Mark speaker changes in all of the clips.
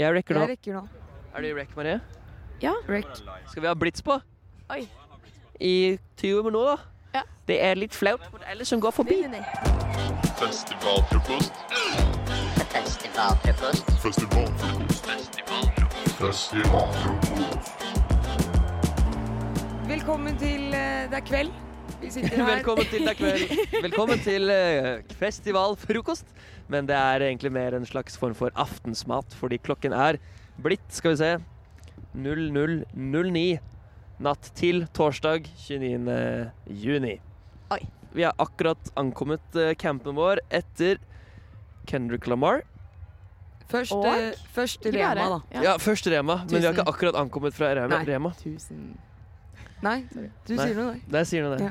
Speaker 1: Jeg rekker nå.
Speaker 2: Jeg rekker nå.
Speaker 1: Er du i rekk, Marie?
Speaker 3: Ja.
Speaker 2: Rekt.
Speaker 1: Skal vi ha blitz på?
Speaker 3: Oi.
Speaker 1: I 20 minutter?
Speaker 3: Ja.
Speaker 1: Det er litt flaut mot alle som går forbi.
Speaker 3: Nei, nei, nei.
Speaker 4: Festivalfrokost.
Speaker 5: Festivalfrokost.
Speaker 4: Festivalfrokost. Festivalfrokost.
Speaker 2: Velkommen til eh, Det er kveld. Vi sitter her.
Speaker 1: Velkommen til Takk vel. Velkommen til eh, festivalfrokost. Men det er egentlig mer en slags form for aftensmat, fordi klokken er blitt, skal vi se, 00.09 natt til torsdag 29. juni.
Speaker 3: Oi.
Speaker 1: Vi har akkurat ankommet eh, campen vår etter Kendrick Lamar.
Speaker 2: Først,
Speaker 3: Og-
Speaker 2: eh, først Rema, da.
Speaker 1: Ja, først Rema, men vi har ikke akkurat ankommet fra Rema.
Speaker 2: Nei.
Speaker 1: Rema.
Speaker 3: Tusen
Speaker 2: Nei, du
Speaker 1: Nei.
Speaker 2: sier noe, nei.
Speaker 1: Der sier du det.
Speaker 2: Ja.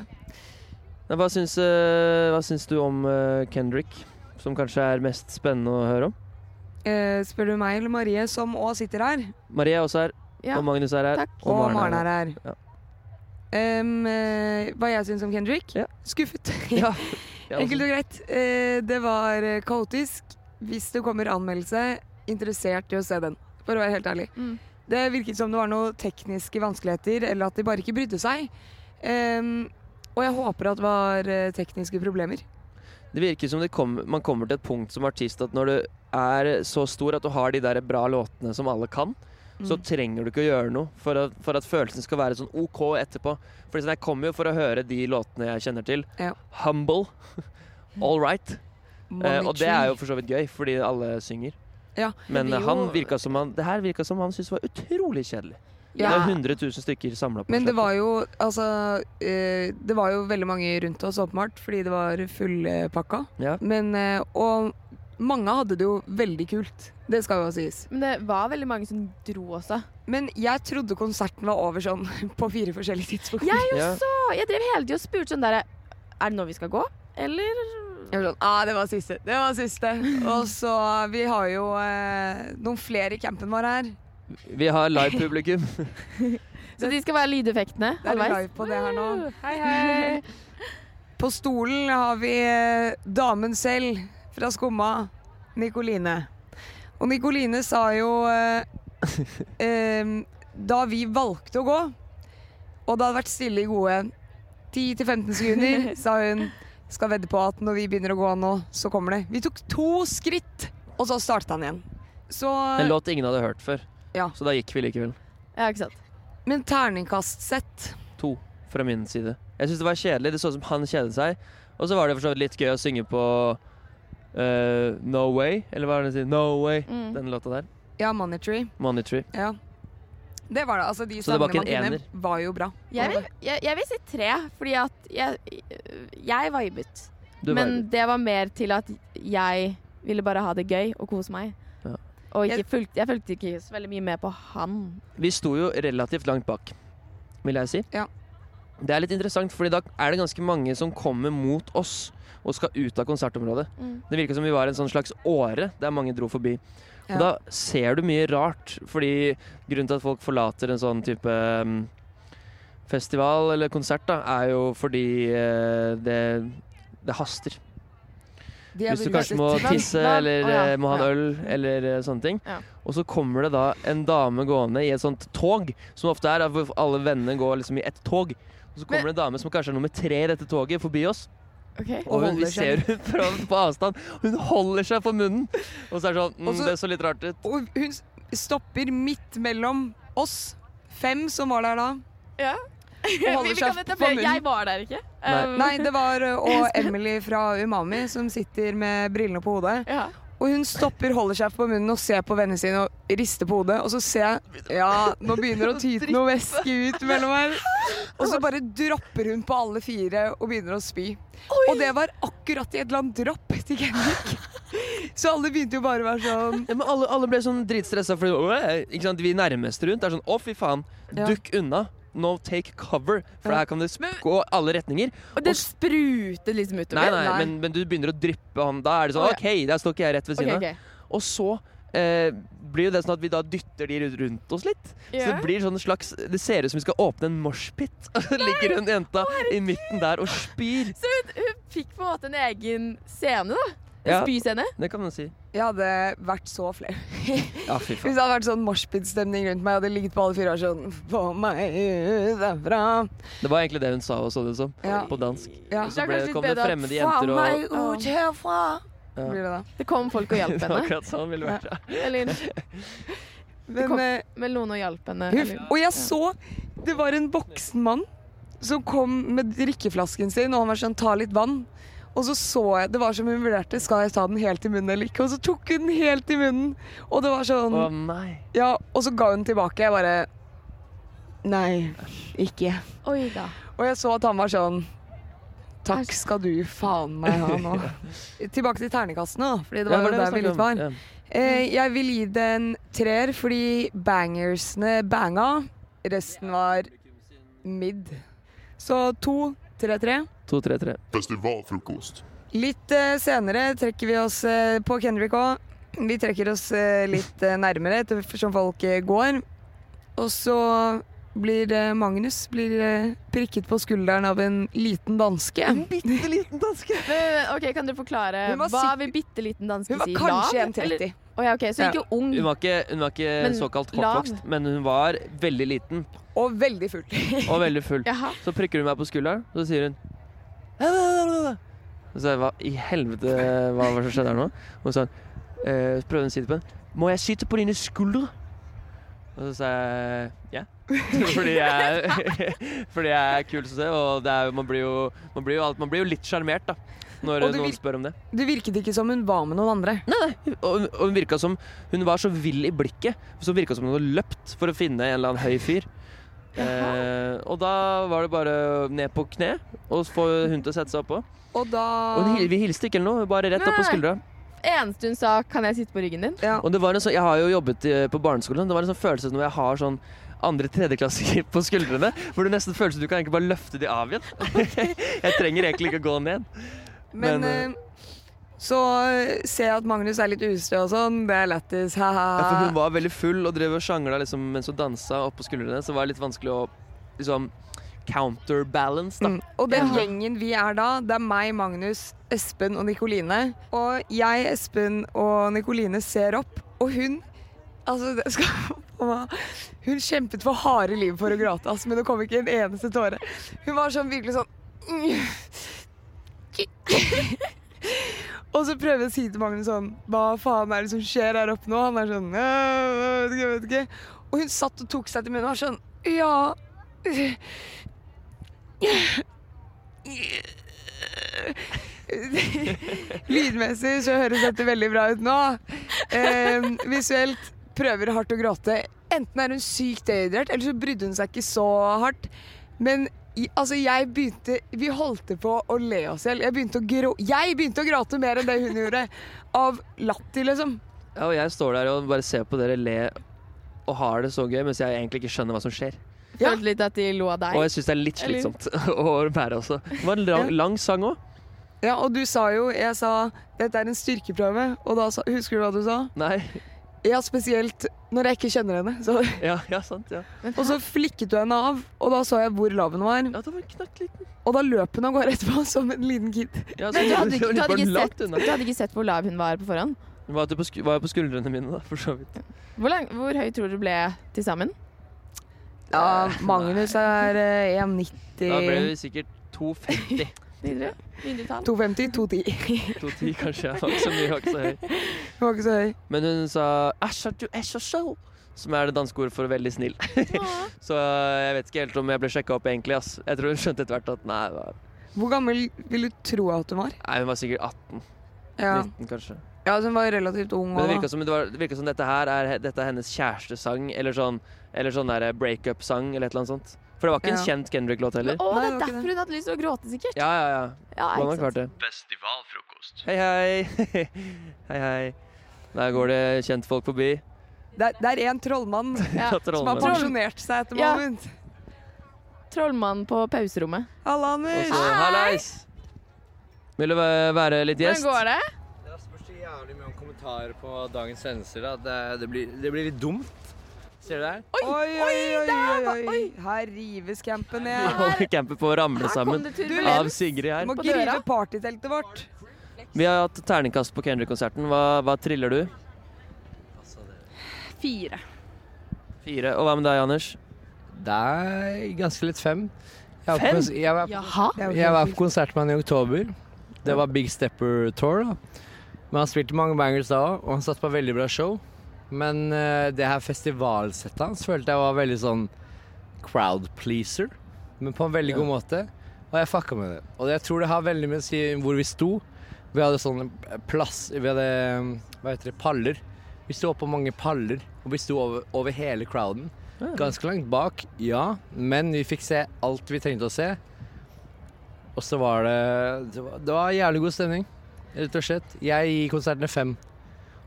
Speaker 1: Men hva, syns, eh, hva syns du om eh, Kendrick, som kanskje er mest spennende å høre om?
Speaker 2: Eh, spør du meg eller Marie, som òg sitter her,
Speaker 1: Marie er også her,
Speaker 3: Ja,
Speaker 1: og Magnus er her.
Speaker 3: takk.
Speaker 1: Og
Speaker 2: og
Speaker 1: Maren
Speaker 2: Maren
Speaker 1: er
Speaker 2: er her.
Speaker 1: Ja.
Speaker 2: Em, eh, hva jeg syns om Kendrick?
Speaker 1: Ja.
Speaker 2: Skuffet.
Speaker 1: Ja. Ja, altså,
Speaker 2: Enkelt og greit. Eh, det var eh, kaotisk. Hvis det kommer anmeldelse, interessert i å se den. For å være helt ærlig.
Speaker 3: Mm.
Speaker 2: Det virket som det var noen tekniske vanskeligheter, eller at de bare ikke brydde seg. Em, og jeg håper at det var eh, tekniske problemer.
Speaker 1: det virker som det kom, man kommer til et punkt som artist at når du er så stor at du har de der bra låtene som alle kan, så trenger du ikke å gjøre noe for at, for at følelsen skal være sånn OK etterpå. For jeg kommer jo for å høre de låtene jeg kjenner til.
Speaker 2: Ja.
Speaker 1: Humble. All right. Eh,
Speaker 2: Money
Speaker 1: og det er jo
Speaker 2: tree.
Speaker 1: for så vidt gøy, fordi alle synger.
Speaker 2: Ja,
Speaker 1: Men eh,
Speaker 3: det blir
Speaker 1: han
Speaker 3: jo-
Speaker 1: virka som han, det her virka som han syntes var utrolig kjedelig. Det
Speaker 2: Ja.
Speaker 1: er 100 000 stykker samla på
Speaker 2: Men det
Speaker 1: sletta.
Speaker 2: var jo altså eh, Det var jo veldig mange rundt oss, åpenbart, fordi det var fullpakka.
Speaker 1: Ja.
Speaker 2: Men eh, Og mange hadde det jo veldig kult. Det skal jo sies.
Speaker 3: Men det var veldig mange som dro også.
Speaker 2: Men jeg trodde konserten var over sånn på fire forskjellige tidspunkt.
Speaker 3: Jeg
Speaker 1: Ja.
Speaker 3: også! Jeg drev hele tida og spurte sånn derre Er det nå vi skal gå? Eller
Speaker 2: Jeg var sånn, ah, det var siste, det var siste. Og så vi har jo eh, noen flere i campen vår her.
Speaker 1: Vi har live-publikum.
Speaker 3: Så de skal være lydeffektene
Speaker 2: Det er litt live på det her nå. Hei, hei. På stolen har vi eh, damen selv fra Skumma, Nikoline. Og Nikoline sa jo eh, em, Da vi valgte å gå, og det hadde vært stille i gode 10-15 sekunder, sa hun skal vedde på at når vi begynner å gå nå, så kommer det. Vi tok to skritt, og så startet han igjen. Så
Speaker 1: En låt ingen hadde hørt før.
Speaker 2: Ja.
Speaker 1: Så da gikk vi likevel.
Speaker 3: Ja, ikke sant.
Speaker 2: Men terningkastsett
Speaker 1: To fra min side. Jeg syns det var kjedelig. Det så ut som han kjedet seg. Og så var det for så vidt litt gøy å synge på eh, No Way, eller hva er det den sier? No Way.
Speaker 3: Mm.
Speaker 1: Den låta der.
Speaker 2: Ja, Monetary.
Speaker 1: Money Tree.
Speaker 2: Ja. Det var det. Altså, de
Speaker 1: Så det var
Speaker 2: sangene
Speaker 1: ikke en
Speaker 2: man kunne, var jo bra.
Speaker 3: Jeg vil, jeg, jeg vil si tre, fordi at jeg, jeg vibet.
Speaker 1: Du
Speaker 3: Men
Speaker 1: vibet.
Speaker 3: det var mer til at jeg ville bare ha det gøy og kose meg.
Speaker 1: Ja.
Speaker 3: Og
Speaker 2: Jeg-
Speaker 3: ikke fulgte, jeg fulgte ikke så veldig mye med på han.
Speaker 1: Vi sto jo relativt langt bak, vil jeg si.
Speaker 2: Ja.
Speaker 1: Det er litt interessant, fordi da er det ganske mange som kommer mot oss og skal ut av konsertområdet.
Speaker 3: Mm.
Speaker 1: Det virka som vi var en sånn slags åre der mange dro forbi. Og
Speaker 2: Ja.
Speaker 1: da ser du mye rart, fordi grunnen til at folk forlater en sånn type mm, festival eller konsert, da, er jo fordi eh, det, det haster.
Speaker 2: De er
Speaker 1: Hvis du
Speaker 2: veldig
Speaker 1: kanskje må
Speaker 2: søte.
Speaker 1: tisse
Speaker 3: Hva-
Speaker 1: eller
Speaker 3: Å, ja.
Speaker 1: eh, må ha en
Speaker 3: Ja.
Speaker 1: øl eller eh, sånne ting.
Speaker 3: Ja.
Speaker 1: Og så kommer det da en dame gående i et sånt tog, som ofte er hvor alle vennene går liksom i ett tog. Og så kommer det en dame som kanskje er nummer tre i dette toget, forbi oss.
Speaker 3: Ok.
Speaker 1: Og hun, vi
Speaker 2: holder
Speaker 1: ser
Speaker 2: seg.
Speaker 1: hun fra, på avstand. Hun holder seg for munnen. Og så er det sånn mm,
Speaker 2: Og så-
Speaker 1: Det så litt rart ut.
Speaker 2: Og hun s- stopper midt mellom oss fem som var der da.
Speaker 3: Ja.
Speaker 2: Og holder seg for
Speaker 3: Jeg
Speaker 2: munnen.
Speaker 3: var der ikke.
Speaker 1: Nei.
Speaker 3: Um,
Speaker 2: Nei, det var uh, og Emily fra Umami som sitter med brillene på hodet.
Speaker 3: Ja.
Speaker 2: Og hun stopper, holder seg på munnen og ser på vennene sine og rister på hodet. Og så ser jeg Ja, nå begynner det å tyte noe væske ut mellom her. Og så bare dropper hun på alle fire og begynner å spy. Og det var akkurat i et eller annet dropp til Kendrick. Så alle begynte jo bare å være sånn
Speaker 1: Ja, men alle, alle ble sånn dritstressa fordi «Åh», ikke sant? vi nærmeste rundt er sånn Å, fy faen.
Speaker 2: Ja.
Speaker 1: Dukk unna. No take cover. For
Speaker 2: Ja.
Speaker 1: her kan det gå alle retninger.
Speaker 3: Og det sprutet liksom
Speaker 1: Nei,
Speaker 3: utover.
Speaker 1: nei,
Speaker 2: Nei.
Speaker 1: men, men du begynner å dryppe han. Da er det sånn
Speaker 3: Å,
Speaker 1: OK, der står ikke jeg rett ved
Speaker 3: Ok,
Speaker 1: siden av.
Speaker 3: ok.
Speaker 1: Og så eh, blir jo det sånn at vi da dytter de rundt- rundt oss litt. Så det
Speaker 3: Ja.
Speaker 1: blir sånn slags Det ser ut som vi skal åpne en moshpit. Og så ligger hun jenta i midten der og spyr.
Speaker 3: Så hun, hun fikk på en måte en egen scene, da.
Speaker 1: Ja,
Speaker 3: Spyse henne?
Speaker 1: det kan man si.
Speaker 2: Jeg hadde vært så flau. Hvis
Speaker 1: Ja, fy
Speaker 2: det
Speaker 1: faen.
Speaker 2: hadde vært sånn moshpit-stemning rundt meg, jeg hadde ligget på alle fire år sånn Få meg ut derfra.
Speaker 1: Det var egentlig det hun sa også, det som.
Speaker 2: Ja.
Speaker 1: På dansk.
Speaker 2: Ja,
Speaker 1: Så
Speaker 3: er
Speaker 1: ble,
Speaker 3: kanskje litt
Speaker 1: kom det
Speaker 3: bedre at,
Speaker 1: fremmede
Speaker 3: «Faen
Speaker 1: jenter og
Speaker 3: meg ut herfra!
Speaker 1: Ja.
Speaker 2: blir det da.
Speaker 3: Det kom folk og
Speaker 1: Det
Speaker 3: hjalp
Speaker 1: var
Speaker 3: henne.
Speaker 1: akkurat sånn ville vært. Ja.
Speaker 3: Eller
Speaker 2: Men
Speaker 3: kom-
Speaker 2: eh,
Speaker 3: men noen og hjalp henne.
Speaker 2: Huff.
Speaker 3: eller-
Speaker 2: Og jeg så det var en voksen mann som kom med drikkeflasken sin, og han var sånn 'ta litt vann'. Og så så jeg, Det var som hun vurderte skal jeg ta den helt i munnen eller ikke. Og så tok hun den helt i munnen. Og det var sånn,
Speaker 1: Å nei.
Speaker 2: ja, og så ga hun tilbake. Jeg bare Nei, ikke.
Speaker 3: Oi da.
Speaker 2: Og jeg så at han var sånn Takk skal du faen meg ha nå. Tilbake til terningkastene, da. Fordi det var
Speaker 1: Ja,
Speaker 2: jo der vi litt
Speaker 1: snakket
Speaker 2: var.
Speaker 1: om. Ja.
Speaker 2: Eh, jeg vil gi det en treer, fordi bangersene banga. Resten var midd. Så to, tre, tre.
Speaker 1: To, tre, tre.
Speaker 4: Festivalfrokost.
Speaker 2: Litt eh, senere trekker vi oss eh, på Kendrick òg. Vi trekker oss eh, litt eh, nærmere etter f- som folk eh, går. Og så blir eh, Magnus blir, eh, prikket på skulderen av en liten danske.
Speaker 1: bitte liten danske.
Speaker 3: Men, ok, Kan dere forklare
Speaker 2: Hun var
Speaker 3: hva
Speaker 2: sikk-
Speaker 3: vil bitte liten danske
Speaker 2: Hun var
Speaker 3: si?
Speaker 2: kanskje
Speaker 3: Lav, eller-
Speaker 2: 1,30.
Speaker 3: Å ja, ok, Så ikke ung.
Speaker 1: Hun var ikke, hun var ikke
Speaker 3: Men
Speaker 1: såkalt
Speaker 3: lav.
Speaker 1: kortvokst, men hun var veldig liten
Speaker 2: Og veldig full.
Speaker 1: og veldig full.
Speaker 3: Jaha.
Speaker 1: Så prikker hun meg på skulderen, og så sier hun Og så sa jeg, hva i helvete hva var det som skjedde her nå? Og så sa hun, eh, så prøvde hun å si det på henne. Må jeg sitte på dine skuldre? Og så sa jeg ja. Fordi jeg, fordi jeg er kul som det, og det er, jo- man, blir jo, man, blir jo alt, man blir jo litt sjarmert da, når
Speaker 2: Og du
Speaker 1: noen
Speaker 2: vil-
Speaker 1: spør om det.
Speaker 2: Det virket ikke som hun var med noen andre.
Speaker 1: Og hun, og hun virka som Hun var så vill i blikket, så hun virka som hun hadde løpt for å finne en eller annen høy fyr. Eh, og da var det bare ned på kne og få hun til å sette seg oppå.
Speaker 2: Og da
Speaker 1: Og hun hil- vi hilste ikke eller noe, bare rett opp på
Speaker 3: Nei.
Speaker 1: skuldra.
Speaker 3: Eneste hun sa 'kan jeg sitte på ryggen din'?
Speaker 2: ja.
Speaker 1: Og det var en sånn, Jeg har jo jobbet i- på barneskolen. Det var en sånn følelse når jeg har sånn andre-tredjeklassinger på skuldrene. Hvor det nesten føles som du kan egentlig bare løfte de av igjen. jeg trenger egentlig ikke å gå ned.
Speaker 2: Men,
Speaker 1: Men,
Speaker 2: eh, så eh, ser jeg at Magnus er litt ustø og sånn. Det er lættis.
Speaker 1: Ja, for
Speaker 3: Eh,
Speaker 1: hun
Speaker 2: Ha-ha.
Speaker 1: var veldig full og drev og sjangla liksom, mens hun dansa oppå skuldrene. Så det var litt vanskelig å liksom counterbalance, da.
Speaker 2: Mm. Og den
Speaker 3: Ja.
Speaker 2: gjengen vi er da, det er meg, Magnus, Espen og Nikoline. Og jeg, Espen og Nikoline ser opp, og hun Altså, det skal Mamma, Hun kjempet for harde liv for å gråte, ass, men det kom ikke en eneste tåre. Hun var sånn virkelig sånn Og så prøver jeg å si til Magnus sånn Hva faen er det som skjer her oppe nå? Han er sånn «Øh, jeg vet ikke, jeg vet ikke. Og hun satt og tok seg til munnen og var sånn Ja Lydmessig så høres dette veldig bra ut nå. Eh, visuelt prøver hardt å gråte. Enten er hun sykt dehydrert, eller så brydde hun seg ikke så hardt. Men i, altså, jeg begynte Vi holdt på å le oss i hjel. Jeg, begynte å grå- jeg begynte å gråte mer enn det hun gjorde. Av latter, liksom.
Speaker 1: Ja, og jeg står der og bare ser på dere le og har det så gøy, mens jeg egentlig ikke skjønner hva som skjer.
Speaker 2: Ja.
Speaker 3: Følte litt at de lo av deg.
Speaker 1: Og jeg syns det er litt
Speaker 3: Eller-
Speaker 1: slitsomt å bære også. Det var en lang, lang sang òg.
Speaker 2: Ja, og du sa jo Jeg sa dette er en styrkeprøve, og da sa Husker du hva du sa?
Speaker 1: Nei.
Speaker 2: Ja, spesielt når jeg ikke kjenner henne. Så,
Speaker 1: Ja, ja, sant. Ja.
Speaker 2: og så flikket du henne av, og da så jeg hvor lav hun var.
Speaker 1: ja, det var en knert liten
Speaker 2: Og da løp hun av gårde etterpå som en liten kid.
Speaker 1: ja,
Speaker 3: Men
Speaker 1: så-
Speaker 3: du hadde,
Speaker 1: det
Speaker 3: ikke,
Speaker 1: var
Speaker 3: du, hadde ikke
Speaker 1: langt
Speaker 3: sett,
Speaker 1: unna.
Speaker 3: du hadde ikke sett hvor lav hun var på forhånd?
Speaker 1: Hun var, jo på sku- var jo på skuldrene mine, da, for så vidt.
Speaker 3: Hvor, lang, hvor høy tror du ble til sammen?
Speaker 2: Ja, Magnus er eh,
Speaker 1: Da ble
Speaker 2: 1,90
Speaker 1: vi sikkert 2,50.
Speaker 3: Videre? Mindretall?
Speaker 2: 2,50, 2,10.
Speaker 1: 2,10 kanskje. Jeg var ikke så mye, jeg var ikke så høy.
Speaker 2: Det var ikke så høy.
Speaker 1: Men hun sa 'æsj, at du er så sjøl', som er det danske ordet for veldig snill.
Speaker 3: Åh.
Speaker 1: Så jeg vet ikke helt om jeg ble sjekka opp egentlig. ass. Jeg tror hun skjønte etter hvert at nei, det var-
Speaker 2: Hvor gammel vil du tro at hun var?
Speaker 1: nei hun var sikkert 18-19
Speaker 2: Ja,
Speaker 1: kanskje.
Speaker 2: ja så hun var relativt ung.
Speaker 1: Men det
Speaker 2: også,
Speaker 1: virka
Speaker 2: da.
Speaker 1: som, det var, det virket som dette her er, dette er hennes kjærestesang, eller sånn, eller sånn der breakup-sang, eller et eller annet sånt. For det var ikke en
Speaker 2: Ja.
Speaker 1: kjent Kendrick-låt heller.
Speaker 3: Men, å, det
Speaker 2: Nei,
Speaker 3: er
Speaker 2: det var ikke
Speaker 3: derfor hun hadde lyst til å gråte, sikkert.
Speaker 1: Ja, ja, ja.
Speaker 3: Ja,
Speaker 1: Man
Speaker 3: ikke
Speaker 1: har
Speaker 3: sant?
Speaker 1: klart det. Festivalfrokost. Hei, hei. hei, hei. Der går det kjentfolk forbi.
Speaker 2: Det er- det er en trollmann
Speaker 3: Ja.
Speaker 2: som har
Speaker 1: Trollmann.
Speaker 3: Troll-
Speaker 2: pensjonert seg etter
Speaker 3: Ja.
Speaker 2: moment.
Speaker 3: Trollmannen på pauserommet.
Speaker 2: Halla,
Speaker 1: Og
Speaker 2: Anders!
Speaker 1: så hallais. Vil du væ- være litt gjest?
Speaker 3: Hvordan går det?
Speaker 5: Det spørs så jævlig mye om kommentarer på dagens hendelser. Da. Det, det, blir, det blir litt dumt. Ser du der?
Speaker 2: Oi, oi, oi, oi, oi! Her rives campen ned.
Speaker 1: Alle camper på å ramle
Speaker 3: Her kom
Speaker 1: sammen
Speaker 3: det turbulens.
Speaker 1: av Sigrid her.
Speaker 2: Må
Speaker 3: på
Speaker 2: grive
Speaker 3: døra.
Speaker 2: partyteltet vårt.
Speaker 1: Vi har hatt terningkast på Kendrick-konserten. Hva, hva triller du?
Speaker 5: Altså,
Speaker 6: Fire.
Speaker 1: Fire. Og hva med deg, Anders?
Speaker 5: Det er ganske litt fem. Jeg var på
Speaker 1: Fem?
Speaker 5: kons- Jeg var,
Speaker 3: Jaha?
Speaker 2: Det er jo
Speaker 5: jeg var
Speaker 2: helt
Speaker 5: på konsert med han i oktober. Det var Big Stepper Tour, da. Men han spilte mange bangers da òg, og han satt på veldig bra show. Men eh, det her festivalsettet hans følte jeg var veldig sånn crowd pleaser, men på en veldig
Speaker 1: Ja.
Speaker 5: god måte. Og jeg fucka med det. Og jeg tror det har veldig mye å si hvor vi sto. Vi hadde sånn plass Vi hadde eh, hva heter det, paller. Vi sto på mange paller, og vi sto over, over hele crowden. Ganske langt bak, ja, men vi fikk se alt vi trengte å se. Og så var det Det var, det var jævlig god stemning, rett og slett. Jeg gir konsertene fem.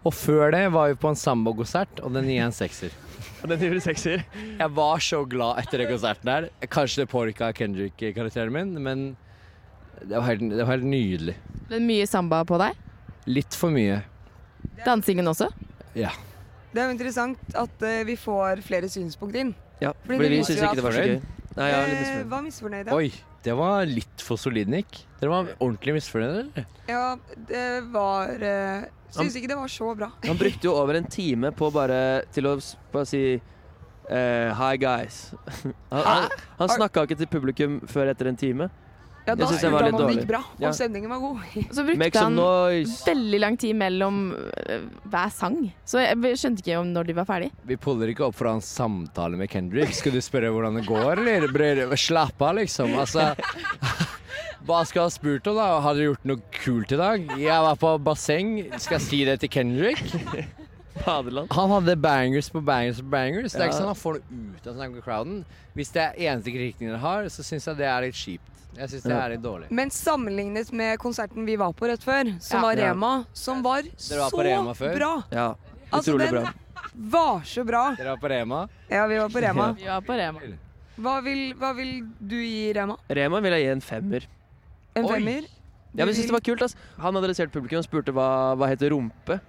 Speaker 5: Og før det var vi på en sambakonsert, og den gir jeg en sekser.
Speaker 1: Den gjorde sekser.
Speaker 5: Jeg var så glad etter den konserten der. Kanskje det påvirka Kendrick-karakteren min, men det var, helt, det var helt nydelig.
Speaker 3: Men mye samba på deg?
Speaker 5: Litt for mye.
Speaker 3: Dansingen også?
Speaker 2: Det er jo interessant at eh, vi får flere synspunkt inn.
Speaker 1: Ja,
Speaker 2: Fordi
Speaker 1: fordi,
Speaker 2: det
Speaker 1: vi
Speaker 2: viser
Speaker 1: syns
Speaker 2: jo
Speaker 1: ikke det var så
Speaker 5: at-
Speaker 1: gøy. Nei, ja, litt
Speaker 2: Eh,
Speaker 1: misfornøyd.
Speaker 2: var misfornøyd, ja.
Speaker 5: Oi, det var litt for solid, Nick. Dere var ordentlig misfornøyde, eller?
Speaker 2: Ja, det var uh, Syns ikke det var så bra.
Speaker 1: Han brukte jo over en time på bare til å s- bare si eh, hi guys. Han, han, han snakka ikke til publikum før etter en time.
Speaker 2: Ja, da
Speaker 1: synes
Speaker 2: spurte
Speaker 1: den var
Speaker 2: han
Speaker 1: litt
Speaker 2: om det
Speaker 1: dårlig.
Speaker 2: gikk bra,
Speaker 1: Ja.
Speaker 2: og stemningen var god.
Speaker 3: Så brukte
Speaker 1: Make some
Speaker 3: han
Speaker 1: noise.
Speaker 3: veldig lang tid mellom øh, hver sang. Så jeg skjønte ikke om når de var ferdig.
Speaker 5: Vi puller ikke opp for hans samtale med Kendrick. Skal du spørre hvordan det går, eller? Bror, Slapp av, liksom. Altså Hva skal jeg ha spurt om, da? Har dere gjort noe kult i dag? Jeg var på basseng. Skal jeg si det til Kendrick?
Speaker 1: Faderland.
Speaker 5: Han hadde bangers på bangers på bangers. Det er ikke
Speaker 1: Ja.
Speaker 5: sånn han får noe ut av å snakke med crowden. Hvis det er eneste kritikken dere har, så syns jeg det er litt kjipt. Jeg syns det
Speaker 1: Ja.
Speaker 5: er litt dårlig.
Speaker 2: Men sammenlignet med konserten vi var på rett før, som
Speaker 3: Ja.
Speaker 2: var
Speaker 1: Ja.
Speaker 2: Rema, som var,
Speaker 5: var på
Speaker 2: så
Speaker 5: Rema før?
Speaker 2: bra.
Speaker 1: Ja,
Speaker 2: Altså,
Speaker 1: utrolig
Speaker 2: den-
Speaker 1: bra.
Speaker 2: Var så bra.
Speaker 5: Dere var på Rema.
Speaker 2: Ja, vi var på Rema.
Speaker 3: Vi var på Rema.
Speaker 2: Hva vil, hva vil du gi Rema?
Speaker 1: Rema vil jeg gi en femmer.
Speaker 2: En
Speaker 5: Oi.
Speaker 2: femmer?
Speaker 1: Ja, men jeg synes det var kult, ass. Han adresserte publikum og spurte hva, hva heter rumpe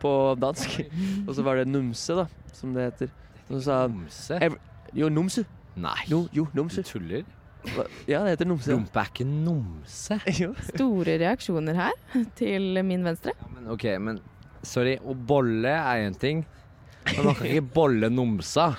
Speaker 1: på dansk. Og så var det numse, da, som det heter. Og så sa han
Speaker 5: Bamse?
Speaker 1: jo, numse.
Speaker 5: Nei,
Speaker 1: Jo, jo,
Speaker 5: du
Speaker 1: numse.
Speaker 5: tuller.
Speaker 1: Hva- Ja, det heter numse.
Speaker 5: Rumpe er ikke numse.
Speaker 1: Jo.
Speaker 3: Store reaksjoner her til min venstre.
Speaker 5: Ja, men OK, men sorry. Å bolle er én ting. Men man kan ikke bolle numsa.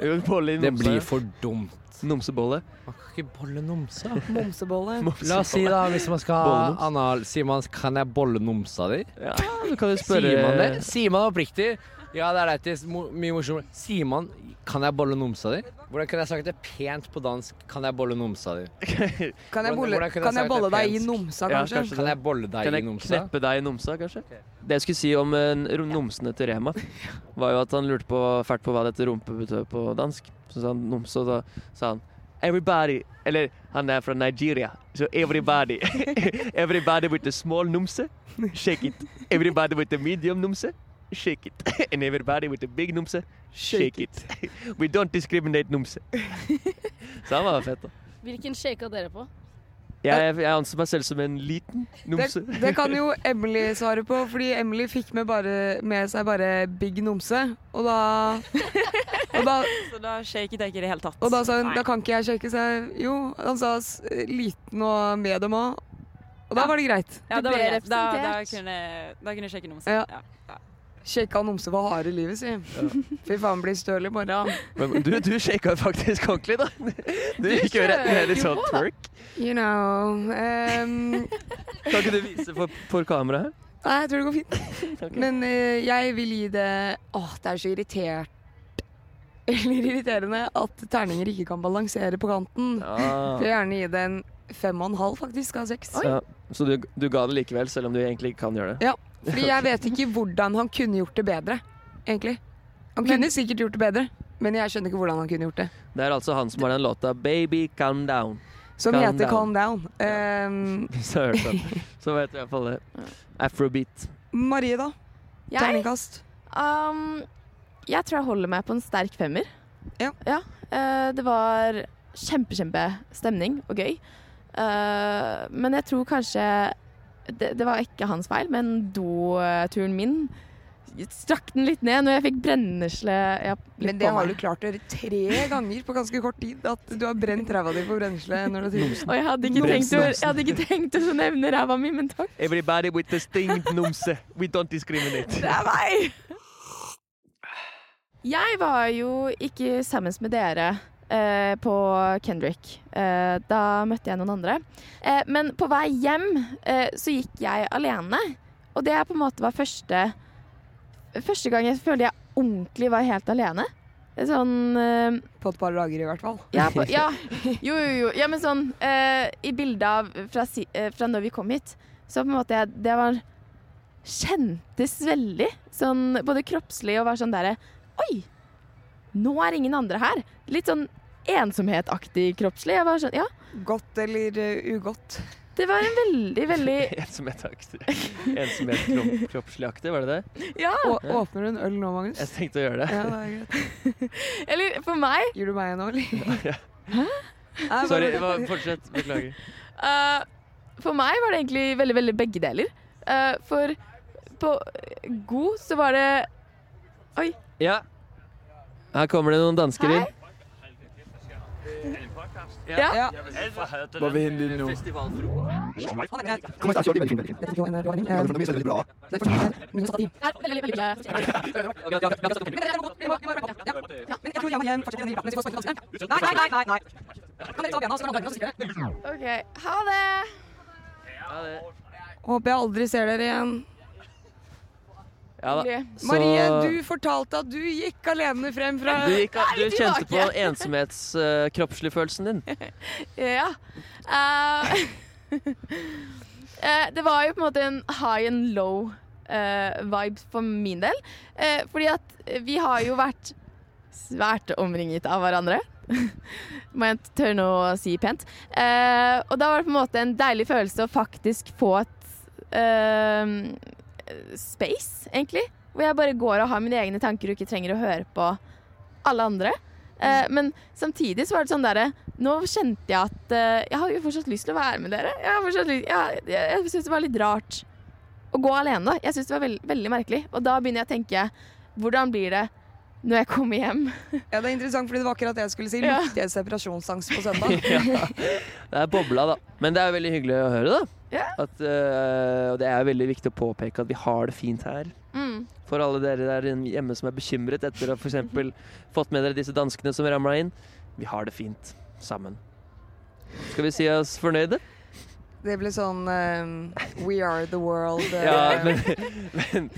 Speaker 1: Jo, bolle i
Speaker 5: Det
Speaker 1: numse.
Speaker 5: blir for dumt.
Speaker 1: Numsebolle.
Speaker 5: Man kan ikke bolle numsa.
Speaker 2: Momsebolle.
Speaker 5: La oss si, da, hvis man skal ha
Speaker 1: Bollenums.
Speaker 5: anal, sier man 'kan jeg bolle numsa di'?
Speaker 1: Ja, du kan jo spørre
Speaker 5: Sier man det? Sier man oppriktig? Ja, det er lættis. Mo- Mye morsommere. Sier man 'kan jeg bolle numsa di'? Hvordan kunne jeg sagt det pent på dansk? 'Kan jeg bolle numsa di'?
Speaker 2: Kan jeg
Speaker 5: Hvordan-
Speaker 2: bolle,
Speaker 5: hvordan kunne jeg
Speaker 2: kan jeg
Speaker 5: sagt
Speaker 2: bolle
Speaker 5: det
Speaker 2: deg i
Speaker 5: pensk?
Speaker 2: nomsa,
Speaker 1: Ja,
Speaker 2: kanskje?
Speaker 1: kanskje.
Speaker 5: Kan jeg bolle deg
Speaker 1: Kan
Speaker 5: i
Speaker 1: jeg
Speaker 5: numsa?
Speaker 1: kneppe deg i numsa, kanskje? Det jeg skulle si om eh, rom- numsene til Rema, var jo at han lurte på, fælt på hva dette rumpe betød på dansk. Så sa han numse, og da sa han Everybody Eller han er fra Nigeria, så everybody. everybody with a small numse, shake it. Everybody with a medium numse, shake it. And everybody with a big numse, shake it. We don't discriminate numse. Så han var fett, da.
Speaker 6: Hvilken shaka dere på?
Speaker 1: Jeg, jeg anser meg selv som en liten numse.
Speaker 2: Det, det kan jo Emily svare på, fordi Emily fikk med, bare, med seg bare Big Nomse. Og da, og da
Speaker 6: Så da shaket jeg ikke i det hele tatt.
Speaker 2: Og da sa hun
Speaker 6: Nei.
Speaker 2: da kan ikke jeg shake seg. Jo, han sa s- liten og medium òg. Og da
Speaker 6: Ja.
Speaker 2: var det greit.
Speaker 6: ja,
Speaker 3: Du
Speaker 6: da, var
Speaker 3: ble
Speaker 6: det greit. da, da
Speaker 3: representert.
Speaker 6: kunne da kunne jeg shake noe.
Speaker 2: Ja.
Speaker 6: Ja. Ja.
Speaker 2: Shaka og nomse var harde i livet, si. Fy faen, blir støl i morgen.
Speaker 1: Men du, du shaka faktisk ordentlig, da. Du gikk jo rett ned i sånn twerk.
Speaker 2: You know ehm,
Speaker 1: Kan ikke du vise for, for kamera her?
Speaker 2: Nei, jeg tror det går fint. Men eh, jeg vil gi det Åh, det er så irritert Eller irriterende at terninger ikke kan balansere på kanten. Jeg vil gjerne gi det en fem og en halv, faktisk, av seks.
Speaker 1: Ja, så du, du ga det likevel, selv om du egentlig ikke kan gjøre det?
Speaker 2: Fordi jeg vet ikke hvordan han kunne gjort det bedre, egentlig. Han kunne sikkert gjort det bedre, men jeg skjønner ikke hvordan han kunne gjort det.
Speaker 1: Det er altså han som har den låta 'Baby Calm Down'.
Speaker 2: Som
Speaker 1: Calm down.
Speaker 2: heter Calm Down. Ehm,
Speaker 1: Hvis du har hørt den. Så vet du iallfall det. Afrobeat.
Speaker 2: Marie, da?
Speaker 3: Jeg,
Speaker 2: Terningkast?
Speaker 3: um, jeg tror jeg holder meg på en sterk femmer.
Speaker 2: Ja.
Speaker 3: eh, det var kjempe, kjempe stemning og gøy. Eh, men jeg tror kanskje det, det var ikke hans feil, men doturen min strakk den litt ned når jeg fikk brennesle ja, litt
Speaker 2: Men det
Speaker 3: på
Speaker 2: har du
Speaker 3: meg.
Speaker 2: klart det tre ganger på ganske kort tid. At du har brent ræva di på brensle. Når du tyder.
Speaker 3: Og jeg hadde ikke
Speaker 1: Bremsen,
Speaker 3: tenkt å, jeg
Speaker 1: bremsen.
Speaker 3: hadde ikke tenkt å nevne ræva mi, men takk.
Speaker 1: Everybody with the sting, nomse. We don't discriminate.
Speaker 3: Det er meg! Jeg var jo ikke sammen med dere eh, på Kendrick. Eh, da møtte jeg noen andre. Eh, men på vei hjem eh, så gikk jeg alene. Og det på en måte var første Første gang jeg følte jeg ordentlig var helt alene. Sånn eh,
Speaker 2: På et par dager, i hvert fall.
Speaker 3: Ja, på, ja. Jo, jo, jo. Ja, men sånn eh, I bildet av fra, si, eh, fra når vi kom hit, så på en måte jeg, Det var Kjentes veldig sånn både kroppslig og var sånn derre Oi! Nå er ingen andre her. Litt sånn ensomhetaktig kroppslig. Jeg var sånn Ja.
Speaker 2: Godt eller eh, ugodt.
Speaker 3: Det var en veldig, veldig
Speaker 1: Ensomhetaktig. Ensomhet kropp, kroppslig aktig, var det det?
Speaker 3: Ja!
Speaker 2: Og åpner du en øl nå, Magnus?
Speaker 1: Jeg tenkte å gjøre det.
Speaker 2: Ja, det er greit.
Speaker 3: Eller for meg
Speaker 2: Gir du meg en øl?
Speaker 1: Ja.
Speaker 2: Nei,
Speaker 1: Sorry,
Speaker 2: bare-
Speaker 1: hva- fortsett. Beklager.
Speaker 3: Eh, For meg var det egentlig veldig, veldig begge deler. Eh, for på god så var det
Speaker 1: Ja. Her kommer det noen dansker
Speaker 3: Hei.
Speaker 1: inn.
Speaker 2: Ja.
Speaker 7: Hva vil hende nå?
Speaker 3: OK, ha det!
Speaker 2: Håper jeg aldri ser dere igjen.
Speaker 1: Ja da. Så-
Speaker 2: Marie, du fortalte at du gikk alene frem fra
Speaker 1: Du, gikk, du
Speaker 3: litt
Speaker 1: kjente på
Speaker 3: tilbake.
Speaker 1: ensomhetskroppsligfølelsen din.
Speaker 3: Ja. Eh, eh, det var jo på en måte en high and low eh, vibe for min del. Eh, fordi at vi har jo vært svært omringet av hverandre. Må jeg tørre nå å si pent. Eh, og da var det på en måte en deilig følelse å faktisk få et eh, space, egentlig. Hvor jeg bare går og har mine egne tanker og ikke trenger å høre på alle andre. Eh, men samtidig så var det sånn derre Nå kjente jeg at eh, Jeg har jo fortsatt lyst til å være med dere. Jeg, har fortsatt lyst, jeg, jeg, jeg syns det var litt rart å gå alene, da. Jeg syns det var veld, veldig merkelig. Og da begynner jeg å tenke Hvordan blir det når jeg kommer hjem?
Speaker 2: Ja, det er interessant, fordi det var akkurat det jeg skulle si.
Speaker 3: Ja.
Speaker 2: Lukter jeg separasjonsangst på søndag?
Speaker 1: Ja. Det er bobla, da. Men det er veldig hyggelig å høre, da.
Speaker 3: Ja.
Speaker 1: At, eh, og det er veldig viktig å påpeke at vi har det fint her.
Speaker 3: Mm.
Speaker 1: For alle dere der hjemme som er bekymret etter å ha for eksempel fått med dere disse danskene som ramla inn. Vi har det fint sammen. Skal vi si oss fornøyde?
Speaker 2: Det ble sånn eh, We are the world. eh,
Speaker 1: Ja, men, men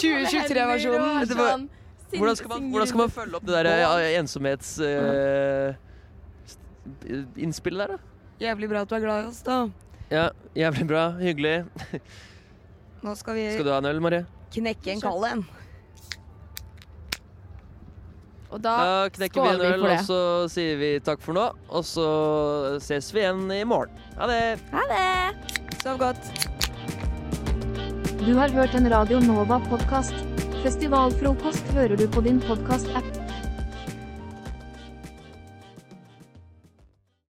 Speaker 2: 2023-versjonen.
Speaker 1: Det
Speaker 3: sånn
Speaker 1: var- hvordan, skal man, hvordan skal man følge opp det der ja, ensomhets... eh, st- innspillet der, da?
Speaker 2: Jævlig bra at du er glad i oss, da.
Speaker 1: Ja, jævlig bra. Hyggelig.
Speaker 2: Nå skal vi
Speaker 1: Skal du ha en øl, Marie?
Speaker 2: knekke en kald en.
Speaker 3: Og da
Speaker 1: Da knekker vi
Speaker 3: skåler
Speaker 1: en øl,
Speaker 3: vi for
Speaker 1: og
Speaker 3: det.
Speaker 1: så sier vi takk for nå. Og så ses vi igjen i morgen. Ha det!
Speaker 3: Ha det!
Speaker 2: Sov godt.
Speaker 8: Du har hørt en Radio Nova-podkast. Festivalfrokost hører du på din podkast-app.